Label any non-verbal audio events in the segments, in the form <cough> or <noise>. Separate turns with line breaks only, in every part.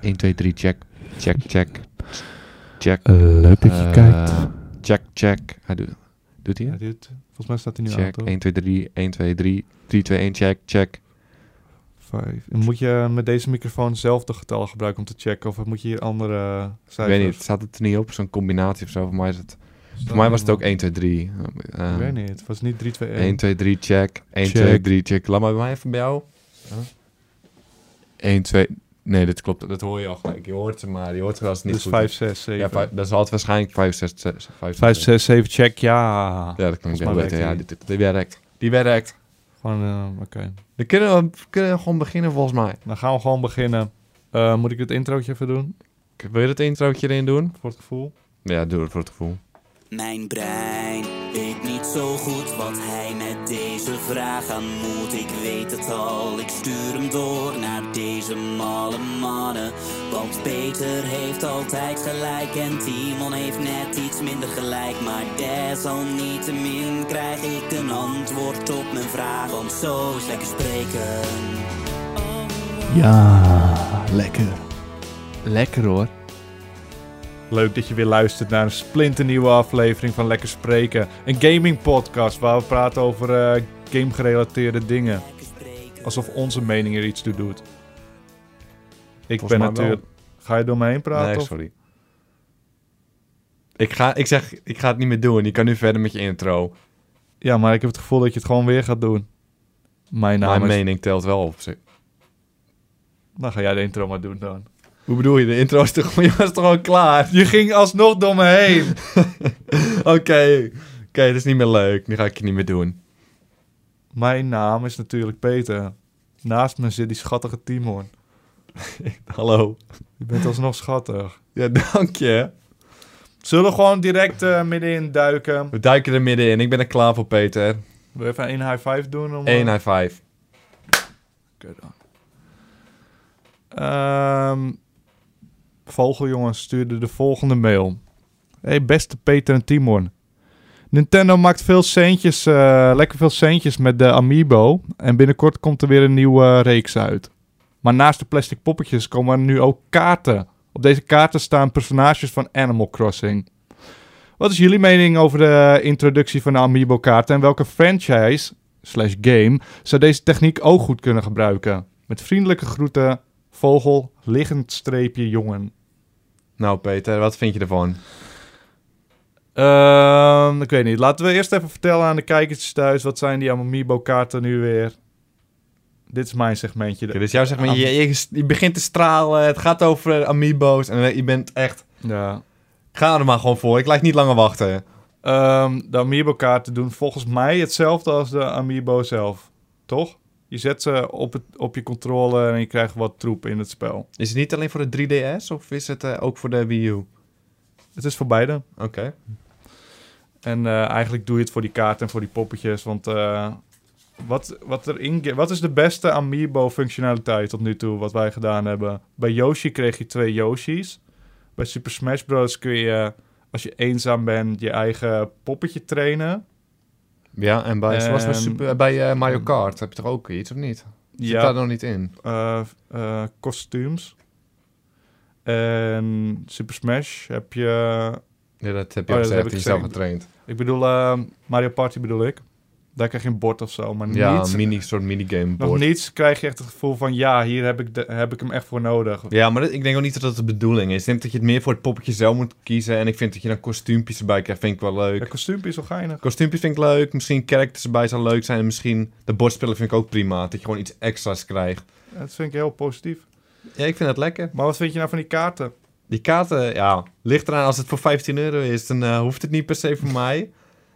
1, 2, 3, check. Check, check. Check.
Leuk dat je
Eh,
kijkt.
Check, check. Hij doet, doet hij
Ja,
het?
dit, volgens mij staat hij nu
Check.
aan,
1, 2, 3, 1, 2, 3. 3, 2, 1, check, check.
Vijf. En moet je eh, met deze microfoon zelf de getallen gebruiken om te checken? Of moet je hier andere eh,
Ik
cijfers?
weet niet, staat het er niet op? Zo'n combinatie of zo? Voor mij, is het, voor mij was het ook 1, 2, 3. Eh,
Ik weet niet. Het was niet 3, 2, 1.
1, 2, 3, check. 1,
Check.
2, 3, check. Laat maar bij mij even bij jou. 1, 2... Nee, dit klopt. Dat hoor je al gelijk. Je hoort ze maar. Je hoort ze als het niet
dus
goed
5,
is.
6, 7.
Ja, vijf- dat is altijd waarschijnlijk 5, 6, 6. 5,
5, 6, 7, check. Ja.
Ja, dat kan ik
Volgens
wel
mij
weten. Ja,
werkt
dit, dit- die werkt. Die werkt.
Gewoon, eh, oké.
Dan kunnen we, kunnen we gewoon beginnen volgens mij.
Dan gaan we gewoon beginnen. Eh, moet ik het introotje even doen?
Ik- Wil je dat introotje erin doen?
Voor het gevoel.
Ja, doe het voor het gevoel.
Mijn brein weet niet zo goed wat hij met deze vraag aan moet. Ik weet het al, ik stuur hem door naar deze malle mannen. Want Peter heeft altijd gelijk en Timon heeft net iets minder gelijk. Maar desalniettemin krijg ik een antwoord op mijn vraag. Want zo is lekker spreken.
Ja, lekker. Lekker hoor.
Leuk dat je weer luistert naar een splinternieuwe aflevering van Lekker Spreken. Een gaming podcast waar we praten over eh, game-gerelateerde dingen.
Lekker spreken.
Alsof onze mening er iets toe doet. Ik
Volgens
ben
mij
natuurlijk... Ga je door me heen praten?
Nee,
of-
sorry. Ik, ga, ik zeg, ik ga het niet meer doen. Je kan nu verder met je intro.
Ja, maar ik heb het gevoel dat je het gewoon weer gaat doen. Mijn naam
Mijn
is...
mening telt wel op zich.
Dan ga jij de intro maar doen dan.
Hoe bedoel je? De intro is toch,
<laughs>
je was toch al klaar?
Je ging alsnog door me heen.
Oké. <laughs> Oké, dat is niet meer leuk. Nu ga ik je niet meer doen.
Mijn naam is natuurlijk Peter. Naast me zit die schattige Timon.
Hallo.
Je bent alsnog schattig.
Ja, dank je.
Zullen we gewoon direct eh, middenin duiken?
We duiken er midden in. Ik ben er klaar voor, Peter.
Wil je even één high five doen? Om, eh,
Eén high five.
Oké dan. Ehm, Vogeljongen stuurde de volgende mail. Hey beste Peter en Timon. Nintendo maakt veel centjes, eh, lekker veel centjes met de Amiibo. En binnenkort komt er weer een nieuwe eh, reeks uit. Maar naast de plastic poppetjes komen er nu ook kaarten. Op deze kaarten staan personages van Animal Crossing. Wat is jullie mening over de introductie van de Amiibo kaarten? En welke franchise slash game zou deze techniek ook goed kunnen gebruiken. Met vriendelijke groeten, vogel, liggend streepje jongen.
Nou, Peter, wat vind je ervan?
Ehm, ik weet niet. Laten we eerst even vertellen aan de kijkertjes thuis. Wat zijn die Amiibo-kaarten nu weer? Dit is mijn segmentje.
Oké, dus jou zeg maar, je, je, je begint te stralen. Het gaat over eh, amiibo's. En eh, je bent echt...
Ja.
Ga er maar gewoon voor. Ik laat niet langer wachten.
Ehm, de Amiibo-kaarten doen volgens mij hetzelfde als de Amiibo zelf. Toch? Je zet ze op, het, op je controle en je krijgt wat troep in het spel.
Is het niet alleen voor de 3DS? Of is het eh, ook voor de Wii U? Oké.
Het is voor beide. En eh, eigenlijk doe je het voor die kaart en voor die poppetjes. Want eh, wat, wat, er in wat is de beste Amiibo-functionaliteit tot nu toe, wat wij gedaan hebben? Bij Yoshi kreeg je twee Yoshi's. Bij Super Smash Bros. kun je, als je eenzaam bent, je eigen poppetje trainen.
Ja, en bij, zoals bij,
Ehm,
super, bij eh, Mario Kart heb je toch ook iets, of niet? Zit daar
Ja,
nog niet in?
eh, eh, kostuums. En Super Smash heb je...
Ja, dat heb
je
je
Oh, al dat gezegd, heb
gezegd. Die
ik die
is
zelf
al
gezien.
getraind.
Ik bedoel, eh, Mario Party bedoel ik. Daar krijg je een bord of zo, maar
Ja,
niets
een mini, soort minigame
Nog
board.
niets krijg je echt het gevoel van ja, hier heb ik, de, heb ik hem echt voor nodig.
Ja, maar dat- ik denk ook niet dat dat de bedoeling is. Ik denk dat je het meer voor het poppetje zelf moet kiezen. En ik vind dat je dan kostuumpjes erbij krijgt, vind ik wel leuk.
Het kostuumpje is wel geinig.
Kostuumpjes vind ik leuk. Misschien characters erbij zou leuk zijn. En misschien de bordspellen vind ik ook prima. Dat je gewoon iets extra's krijgt.
Dat vind ik heel positief.
Ja, ik vind dat lekker.
Maar wat vind je nou van die kaarten?
Die kaarten, ja, ligt eraan als het voor 15 euro is, dan eh, hoeft het niet per se voor
<laughs>
mij.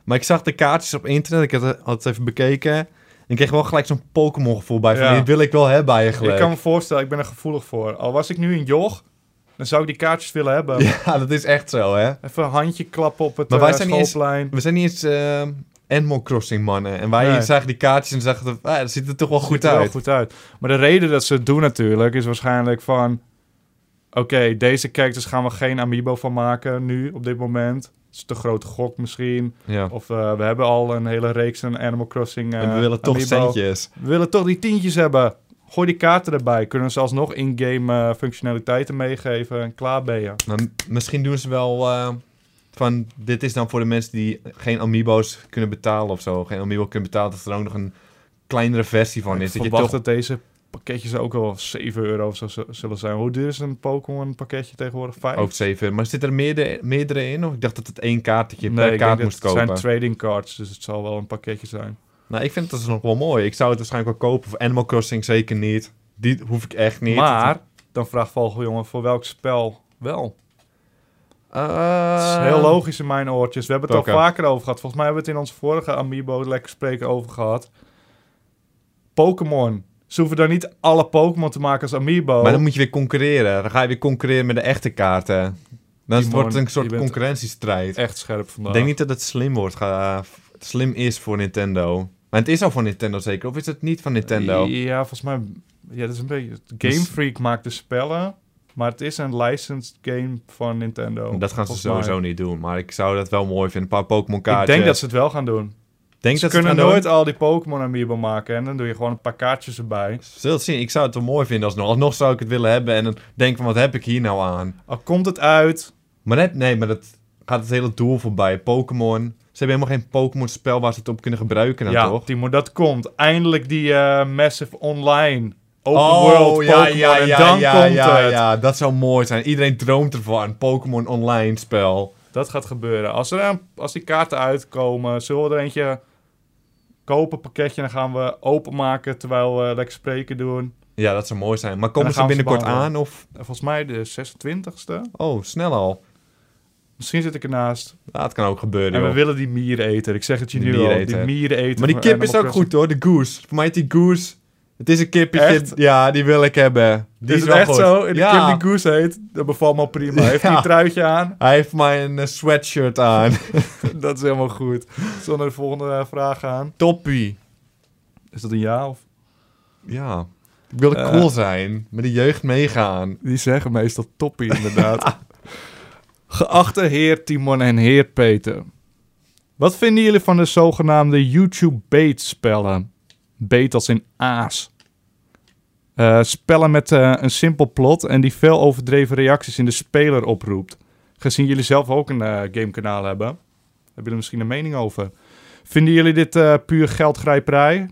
Maar ik zag de kaartjes op internet, ik had, eh, had het even bekeken. En ik kreeg wel gelijk zo'n Pokémon gevoel bij, van
Ja.
die wil ik wel hebben eigenlijk.
Ik kan me voorstellen, ik ben er gevoelig voor. Al was ik nu een joch, dan zou ik die kaartjes willen hebben.
<laughs> Ja, dat is echt zo, hè.
Even een handje klappen op het
Maar
maar
wij zijn niet eens-
schoolplein.
We zijn niet eens eh, Animal Crossing mannen. En wij
Nee.
zagen die kaartjes en zagen, dat, ah, dat ziet er toch wel goed
Ziet er wel
uit.
goed uit. Maar de reden dat ze het doen natuurlijk is waarschijnlijk van... Oké, deze characters gaan we geen amiibo van maken nu, op dit moment. Het is te grote gok misschien.
Ja.
Of eh, we hebben al een hele reeks aan Animal Crossing eh
en we willen toch
amiibo.
centjes.
We willen toch die tientjes hebben. Gooi die kaarten erbij. Kunnen ze alsnog in-game eh, functionaliteiten meegeven. En klaar ben je.
Maar m- misschien doen ze wel eh, van... Dit is dan voor de mensen die geen amiibo's kunnen betalen of zo. Geen amiibo kunnen betalen. Dat er ook nog een kleinere versie van
ik
is. Dat je
verwacht
toch...
dat deze pakketjes ook wel 7 euro of zo z- zullen zijn. Hoe duur is een Pokémon pakketje tegenwoordig? 5?
Ook 7 Maar zit er meerdere, meerdere in? Of ik dacht dat het één kaartje
nee,
per
ik denk
kaart
dat
moest
het
kopen.
zijn trading cards, dus het zal wel een pakketje zijn.
Nou, ik vind het dus nog wel mooi. Ik zou het waarschijnlijk wel kopen. Of Animal Crossing zeker niet. Die hoef ik echt niet.
Maar, dan vraagt Vogeljongen voor welk spel wel?
Eh,
Het is heel logisch in mijn oortjes. We hebben het al
Oké.
vaker over gehad. Volgens mij hebben we het in onze vorige Amiibo lekker spreken over gehad. Pokémon. Ze hoeven daar niet alle Pokémon te maken als Amiibo.
Maar dan moet je weer concurreren. Dan ga je weer concurreren met de echte kaarten. Dan
Timon,
wordt het een
je
soort
bent-
concurrentiestrijd.
Echt scherp vandaag.
Ik denk niet dat het slim wordt. ga- slim is voor Nintendo. Maar het is al voor Nintendo zeker. Of is het niet van Nintendo?
Ja, volgens mij... Ja, dat is een beetje... Game
Dus-
Freak maakt de spellen, maar het is een licensed game van Nintendo.
dat gaan ze
volgens mij.
sowieso niet doen. Maar ik zou dat wel mooi vinden. Een paar Pokémon
Ik
kaartjes.
denk dat ze het wel gaan doen.
Denk
ze
dat ze het
kunnen
gaan
nooit
doen?
al die Pokémon Amiibo maken en dan doe je gewoon een paar kaartjes erbij.
Zul het zien. Ik zou het wel mooi vinden alsnog. Alsnog zou ik het willen hebben. En dan denk van wat heb ik hier nou aan?
Al komt het uit,
Maar net, nee, maar dat gaat het hele doel voorbij. Pokémon. Ze hebben helemaal geen Pokémon-spel waar ze het op kunnen gebruiken, dan
ja,
toch?
Timo, dat komt. Eindelijk die eh, Massive Online Open
Oh,
World Pokémon. en dan
ja,
komt
ja,
het.
ja, dat zou mooi zijn. Iedereen droomt ervan. Pokémon online spel.
Dat gaat gebeuren. Als, er, een- als die kaarten uitkomen, zullen we er eentje kopen, pakketje, en dan gaan we openmaken terwijl we lekker spreken doen.
Ja, dat zou mooi zijn. Maar
En
komen
dan
ze
gaan we ze
binnenkort aan
behandelen.
of...
En volgens mij de 26e.
Oh, snel al.
Misschien zit ik ernaast.
Ja, dat kan ook gebeuren,
En we
joh.
willen die mieren eten. Ik zeg het je
Die
nu al. Die
miereneter.
mieren eten.
Maar die kip is ook goed, hoor. De goose. Voor mij heet die goose... Het is een kippetje.
Echt?
Ja, die wil ik hebben. Die
is
is,
het
wel
echt
goed.
zo? En die
ja.
kip die goose heet, dat bevalt me prima. Heeft die
Ja.
een truitje aan? <laughs>
Hij heeft mij een eh, sweatshirt aan.
dat is helemaal goed. Zullen we naar de volgende eh, vraag gaan?
Toppie.
Is dat een ja of...
Ja. Ik wilde
Eh.
cool zijn. Met de jeugd meegaan.
Die zeggen meestal toppie, inderdaad. <laughs> Geachte heer Timon en heer Peter. Wat vinden jullie van de zogenaamde YouTube-bait-spellen? Bait als in aas. Eh, spellen met eh, een simpel plot en die veel overdreven reacties in de speler oproept. Gezien jullie zelf ook een eh, gamekanaal hebben, hebben jullie er misschien een mening over. Vinden jullie dit eh, puur geldgrijperij?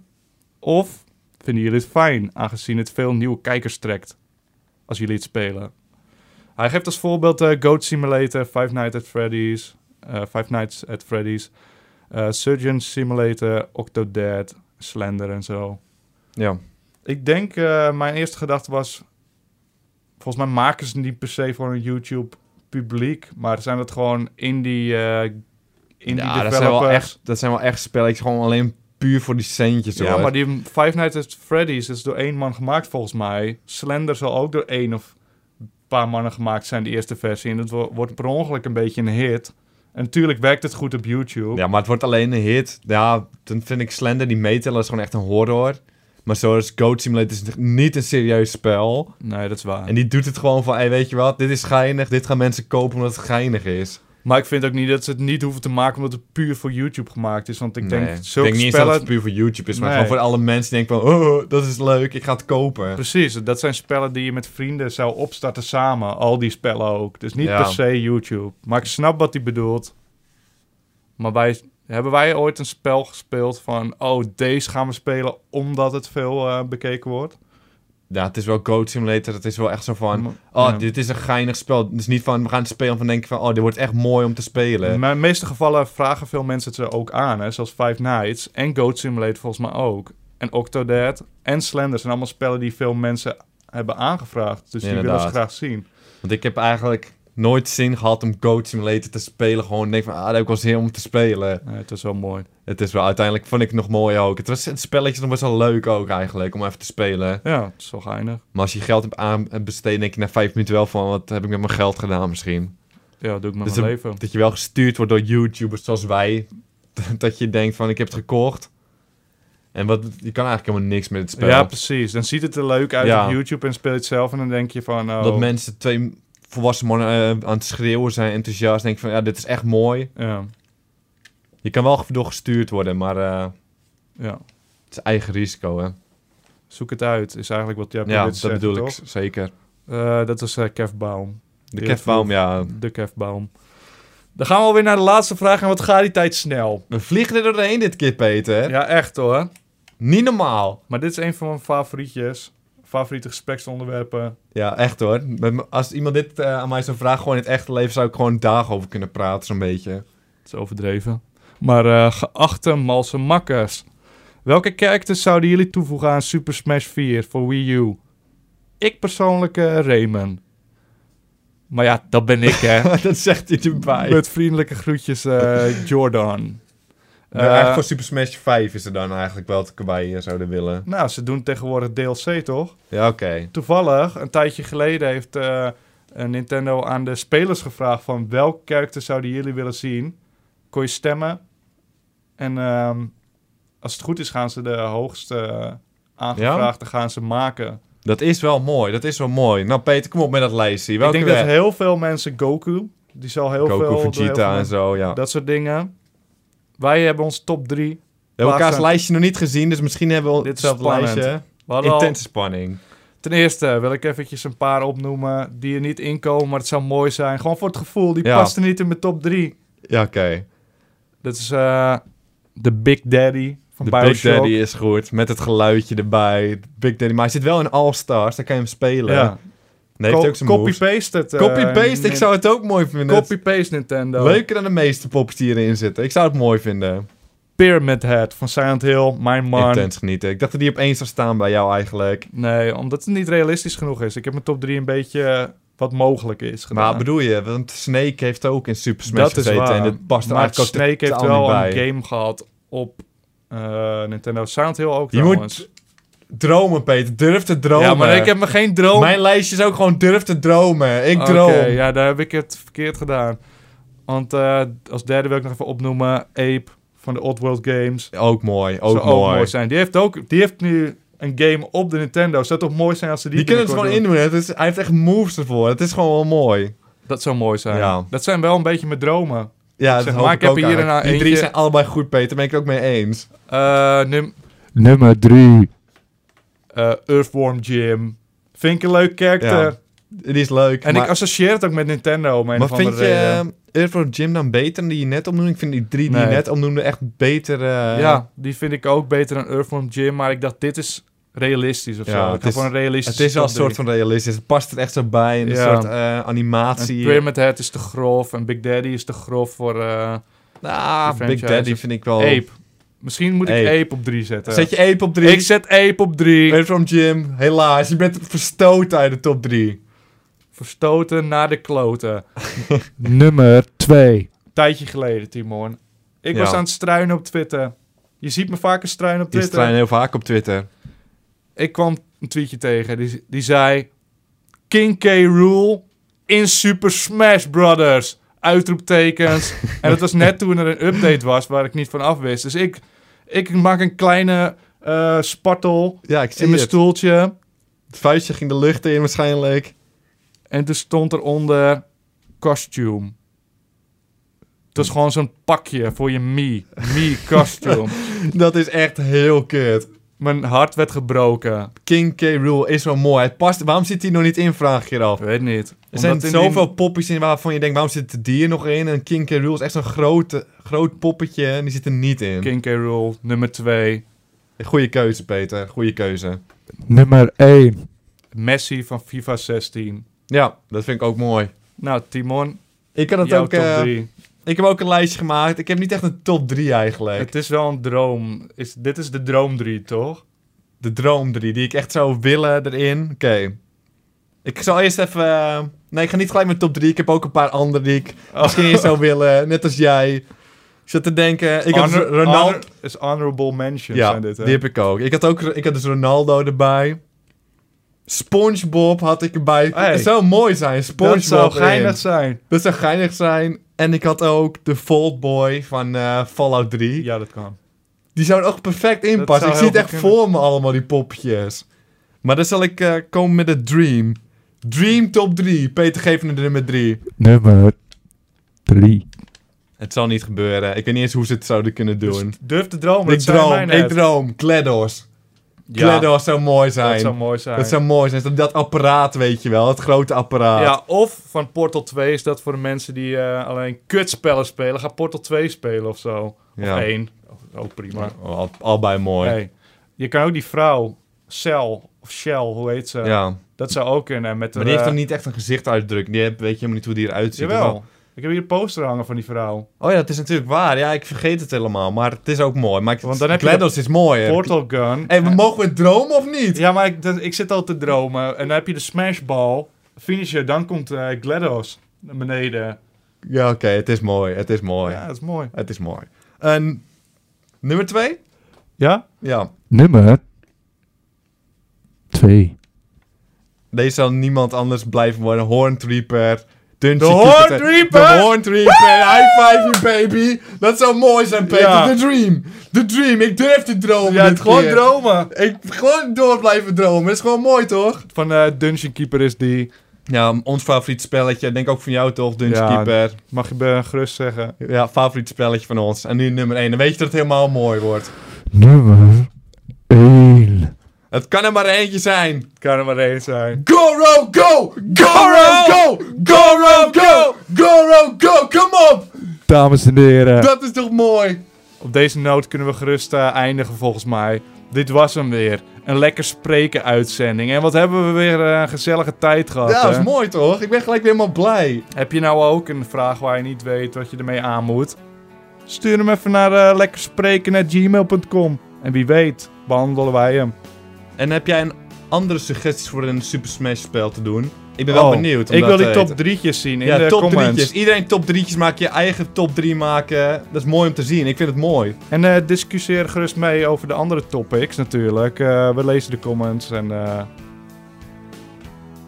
Of vinden jullie het fijn, aangezien het veel nieuwe kijkers trekt? als jullie het spelen. Hij geeft als voorbeeld eh, Goat Simulator, Five Nights at Freddy's, eh, Five Nights at Freddy's, eh, Surgeon Simulator, Octodad, Slender en zo.
Ja.
Ik denk, eh, mijn eerste gedachte was, volgens mij maken ze niet per se voor een YouTube publiek, maar zijn dat gewoon indie, eh indie
ja, dat zijn,
developers.
wel echt, dat zijn wel echt spelletjes. Gewoon alleen puur voor die centjes.
Ja, maar die Five Nights at Freddy's is door één man gemaakt volgens mij. Slender zal ook door één of paar mannen gemaakt zijn, de eerste versie. En dat wo- wordt per ongeluk een beetje een hit. En natuurlijk werkt het goed op YouTube.
Ja, maar het wordt alleen een hit. Ja, dan vind ik Slender, die meetellen, is gewoon echt een horror. Maar zoals Goat Simulator is het niet een serieus spel.
Nee, dat is waar.
En die doet het gewoon van, hey, weet je wat, dit is geinig. Dit gaan mensen kopen omdat het geinig is.
Maar ik vind ook niet dat ze het niet hoeven te maken omdat het puur voor YouTube gemaakt is. Want ik denk,
Nee.
zulke
Ik denk niet eens dat
spellen...
het puur voor YouTube is, maar
Nee.
gewoon voor alle mensen die denken van, oh, dat is leuk, ik ga het kopen.
<laughs> Precies, dat zijn spellen die je met vrienden zou opstarten samen. Al die spellen ook. Dus niet
Ja.
per se YouTube. Maar ik snap wat hij bedoelt. Maar wij, hebben wij ooit een spel gespeeld van... Oh, deze gaan we spelen omdat het veel eh, bekeken wordt?
Ja, het is wel Goat Simulator. Het is wel echt zo van,
Maar-
oh,
ja.
dit is een geinig spel. Het is niet van, we gaan het spelen van denken van, oh, dit wordt echt mooi om te spelen.
Maar in de meeste gevallen vragen veel mensen het er ook aan. Hè? Zoals Five Nights en Goat Simulator volgens mij ook. En Octodad en Slender zijn allemaal spellen die veel mensen hebben aangevraagd. Dus die willen ze
Inderdaad.
graag zien.
Want ik heb eigenlijk nooit zin gehad om Goat Simulator te spelen. Gewoon denk van, ah, daar heb ik wel zin om te spelen.
Nee, Eh, het is wel mooi.
Het is wel, uiteindelijk vond ik het nog mooi ook. Het, was, het spelletje was best wel leuk ook eigenlijk, om even te spelen.
Ja, het is wel geinig.
Maar als je geld hebt aan hebt besteed, denk je na vijf minuten wel van, wat heb ik met mijn geld gedaan misschien?
Ja, doe ik met
Dus
mijn
dat-
leven.
Dat je wel gestuurd wordt door YouTubers zoals wij. <laughs> Dat je denkt van, ik heb het gekocht. En wat, je kan eigenlijk helemaal niks met het spel.
Ja, precies. Dan ziet het er leuk uit
Ja.
op YouTube en speel je het zelf. En dan denk je van, oh,
Dat mensen, twee volwassen mannen eh, aan het schreeuwen zijn, enthousiast. Denk van, ja, dit is echt mooi.
ja,
Je kan wel door gestuurd worden, maar eh,
ja.
het is eigen risico, hè.
Zoek het uit, is eigenlijk wat jij
Ja,
probeert
dat
te zeggen,
bedoel ik
toch?
z- zeker.
Eh, dat was eh Kev Baum.
De
Ja,
kefbaum, ja.
De Kev Baum. Dan gaan we alweer naar de laatste vraag. En wat gaat die tijd snel?
We vliegen er doorheen dit keer, Peter.
Ja, echt hoor.
Niet normaal.
Maar dit is een van mijn favorietjes. Favoriete gespreksonderwerpen.
Ja, echt hoor. Met m- Als iemand dit eh, aan mij zou vragen, gewoon in het echte leven, zou ik gewoon dagen over kunnen praten, zo'n beetje. <laughs>
Het is overdreven. Maar eh, geachte malse makkers. Welke characters zouden jullie toevoegen aan Super Smash 4 voor Wii U? Ik persoonlijk eh, Rayman. Maar ja, dat ben ik <laughs> hè.
dat zegt hij erbij.
Met vriendelijke groetjes eh, Jordan.
Ja,
Eh,
eigenlijk voor Super Smash 5 is er dan eigenlijk wel wat ik erbij eh, zouden willen.
nou, ze doen tegenwoordig DLC toch?
Ja, oké.
Toevallig, een tijdje geleden heeft eh, een Nintendo aan de spelers gevraagd van welk character zouden jullie willen zien. Kon je stemmen. En ehm, als het goed is gaan ze de hoogste eh, aangevraagde gaan ze maken.
Dat is wel mooi, dat is wel mooi. Nou Peter, kom op met dat lijstje. Welke
Ik denk dat
weg?
heel veel mensen Goku, die zal heel veel... eh,
Goku,
door heel veel
Vegeta en
mensen-
zo, ja.
Dat soort dingen. Wij hebben onze top 3.
We hebben elkaars
Plaatsen.
lijstje nog niet gezien, dus misschien hebben we
Dit is
hetzelfde
spannend.
lijstje.
We hadden al-
Intense spanning.
Ten eerste wil ik eventjes een paar opnoemen die er niet inkomen, maar het zou mooi zijn. Gewoon voor het gevoel, die
Ja.
past er niet in mijn top 3.
Ja, oké.
Dat is eh, de Big Daddy van
De
Bioshock.
Big Daddy is goed, met het geluidje erbij. Big Daddy, maar hij zit wel in All Stars, daar kan je hem spelen.
Ja.
Nee, heeft
Co-
hij ook zijn moves.
Copy-paste het. eh,
Copy-paste, ik
Nin-
zou het ook mooi vinden.
Copy-paste Nintendo.
Leuker dan de meeste pops die erin zitten. Ik zou het mooi vinden.
Pyramid Head van Silent Hill. Mijn man.
Intens genieten. Ik dacht dat die opeens zou staan bij jou eigenlijk.
Nee, omdat het niet realistisch genoeg is. Ik heb mijn top 3 een beetje eh, wat mogelijk is gedaan.
Maar bedoel je, want Snake heeft ook in Super Smash
dat is
gezeten
waar.
en dit past er
maar
eigenlijk ook
Snake heeft
totaal
wel
niet
een
bij.
game gehad op eh, Nintendo. Silent Hill ook
Je
trouwens.
moet dromen, Peter. Durf te dromen.
Ja, maar ik heb me geen droom...
Mijn lijstje is ook gewoon durf te dromen. Ik
Oké,
droom.
ja, daar heb ik het verkeerd gedaan. Want eh, als derde wil ik nog even opnoemen Ape van de Oddworld Games.
Ook mooi, ook
Zou
mooi.
zijn. Die heeft, ook, die heeft nu een game op de Nintendo. Zou toch mooi zijn als ze die,
Die, kunnen het gewoon
binnenkort
indoen. Het is, hij heeft echt moves ervoor. Het is gewoon wel mooi.
doen? Dat zou mooi zijn.
Ja.
Dat zijn wel een beetje mijn dromen.
Ja,
Zeg
dat
maar,
hoop
ik heb
ook
hier
eigenlijk.
nou
Die drie
eentje-
zijn allebei goed, Peter. Daar ben ik het ook mee eens.
Eh, num-
Nummer 3.
eh, Earthworm Jim. Vind ik een leuk karakter.
Ja, Die is leuk.
en
maar,
ik associeer het ook met Nintendo. Om een
maar
of
vind
andere
je
reden.
eh, Earthworm Jim dan beter dan die je net opnoemde? Ik vind die drie die je
Nee.
net opnoemde echt beter... eh,
ja, die vind ik ook beter dan Earthworm Jim. Maar ik dacht, dit is realistisch of
Ja,
zo. Ik
het
ga
is-
voor een realistische
Het is wel een
top drie.
soort van realistisch. Het past er echt zo bij. En Een
Ja.
soort eh, animatie.
En Pyramid Head is te grof en Big Daddy is te grof voor eh,
Ah,
Die
Big
franchise.
Daddy vind ik wel...
Ape. Misschien moet ik
Ape.
Ape, op 3 zetten.
Zet je Ape op drie.
Ik zet Ape op 3.
Earthworm Jim, helaas. Je bent verstoten uit de top drie.
Verstoten naar de kloten.
Nummer 2.
Tijdje geleden, Timon. Ik
Ja.
was aan het struinen op Twitter. Je ziet me vaker struinen op
Die
Twitter.
zijn heel vaak op Twitter.
Ik kwam een tweetje tegen. Die, die zei... King K. Rule in Super Smash Brothers. Uitroeptekens.
<laughs>
en dat was net toen er een update was waar ik niet van af wist. Dus ik, ik maak een kleine eh spartel
Ja, ik zie
in mijn
het.
stoeltje.
Het vuistje ging de lucht in waarschijnlijk.
En toen stond eronder costume. Het is
Hm.
gewoon zo'n pakje voor je me. Me
<laughs>
costume.
Dat is echt heel kut.
Mijn hart werd gebroken.
King K. Rule is wel mooi. Het past, waarom zit die nog niet in, vraag ik je af.
Ik weet niet.
Er zijn
Omdat in
zoveel
die-
poppies in waarvan je denkt, waarom zit die er nog in? En King K. Rule is echt zo'n grote, groot poppetje en die zit er niet in.
King K. Rool, nummer 2.
Goeie keuze, Peter. Goeie keuze.
Nummer 1.
Messi van FIFA 16.
Ja, dat vind ik ook mooi.
Nou, Timon,
Ik, kan het
jouw
ook,
top
eh,
3.
ik heb ook een lijstje gemaakt. Ik heb niet echt een top 3 eigenlijk.
Het is wel een droom. Is, dit is de droom 3, toch?
De droom 3 die ik echt zou willen erin. Oké. Ik zal eerst even. eh, Nee, ik ga niet gelijk met top 3. Ik heb ook een paar andere die ik
Oh.
misschien eerst zou willen. Net als jij. Ik zat te denken. Ik had dus
Honor-
Ronaldo.
honor- is honorable mentions
ja,
zijn dit, hè?
die heb ik ook. Ik had ook. Ik had dus Ronaldo erbij. SpongeBob had ik erbij.
Hey.
Dat zou mooi zijn. SpongeBob.
Dat zou
erin.
geinig zijn.
Dat zou geinig zijn. En ik had ook de Fold Boy van eh, Fallout 3.
Ja, dat kan.
Die zouden ook perfect inpassen.
zou
Ik zie het
heel
echt
goed kunnen.
voor me allemaal, die poppetjes. Maar dan zal ik eh, komen met de Dream. Dream top 3. Peter geeft me de nummer 3.
Nummer 3.
Het zal niet gebeuren. Ik weet niet eens hoe ze het zouden kunnen doen.
Dus durf te dromen.
ik
dat zei
droom,
mij
ik
net.
droom. GLaDOS. GLaDOS zou mooi zijn.
dat zou mooi zijn.
Dat zou mooi zijn. Dat, dat apparaat, weet je wel. Het grote apparaat.
Ja, of van Portal 2 is dat voor de mensen die eh, alleen kutspellen spelen. Ga Portal 2 spelen of zo. Of
Ja.
1. Ook prima.
Al, allebei mooi.
Hey, je kan ook die vrouw, Cell of Shell, hoe heet ze?
Ja.
Dat zou ook kunnen. Met
Maar die heeft
eh,
dan niet echt een gezichtsuitdruk. Die heb- weet je helemaal niet hoe die eruit ziet.
Jawel. Ik heb hier een poster hangen van die vrouw.
Oh ja, dat is natuurlijk waar. Ja, ik vergeet het helemaal. Maar het is ook mooi. Maar
Want
Want
dan
dan
heb je
GLaDOS is mooi.
Portal Gun.
Hé, we mogen we dromen of niet?
Ja, maar ik, dat- ik zit al te dromen. En dan heb je de smashball, finisher, dan komt eh GLaDOS naar beneden.
Ja, oké. het is mooi. Het is mooi.
Ja, dat is mooi.
Het is mooi. En nummer twee?
Ja?
Ja.
Nummer 2.
Deze zal niemand anders blijven worden. Horn Reaper. Dungeon
De
Keeper.
Horn Reaper!
De Horn Reaper. High five you baby. Dat zou mooi zijn, Peter.
Ja.
The dream. The dream. Ik durf te dromen
Ja,
dit
het gewoon
keer.
dromen.
Ik gewoon door blijven dromen. Dat is gewoon mooi, toch?
Van eh, Dungeon Keeper is die.
Ja, ons favoriet spelletje. Denk ook van jou, toch? Dungeon
Ja.
Keeper.
Mag je eh, gerust zeggen.
Ja, favoriet spelletje van ons. En nu nummer 1. Dan weet je dat het helemaal mooi wordt.
Nummer 1.
Het kan er maar eentje zijn.
Kan er maar één zijn.
Goro, go! Goro, go! Goro, go! Goro, go! Kom op!
Dames en heren.
Dat is toch mooi?
Op deze noot kunnen we gerust eh, eindigen volgens mij. Dit was hem weer. Een lekker spreken uitzending. En wat hebben we weer eh, een gezellige tijd gehad.
Ja, dat
hè?
is mooi toch? Ik ben gelijk weer helemaal blij.
Heb je nou ook een vraag waar je niet weet wat je ermee aan moet? Stuur hem even naar eh, lekkerspreken.gmail.com. En wie weet behandelen wij hem.
En heb jij een andere suggesties voor een Super Smash spel te doen? Ik ben wel
Oh,
benieuwd. om
Ik
dat
wil
te
die top
weten.
drietjes zien in
Ja,
de
top
comments.
drietjes. Iedereen top drietjes maken. Je eigen top drie maken. Dat is mooi om te zien. Ik vind het mooi.
En eh, discussieer gerust mee over de andere topics natuurlijk. Eh, we lezen de comments en... eh,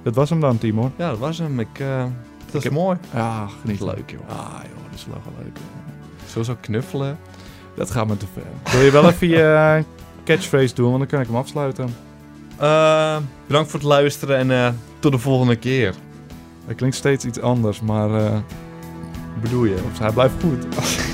Dat was hem dan, Timon.
Ja, dat was hem. Ik, eh, dat is
heb-
mooi.
Ah, geniet.
Leuk joh.
Ah joh, dat is wel leuk.
Zo zo knuffelen.
Dat gaat me te ver. Wil je wel even je eh, catchphrase doen, want dan kan ik hem afsluiten.
Eh, bedankt voor het luisteren en eh, tot de volgende keer.
Dat klinkt steeds iets anders, maar eh,
Bedoel je?
hij blijft goed.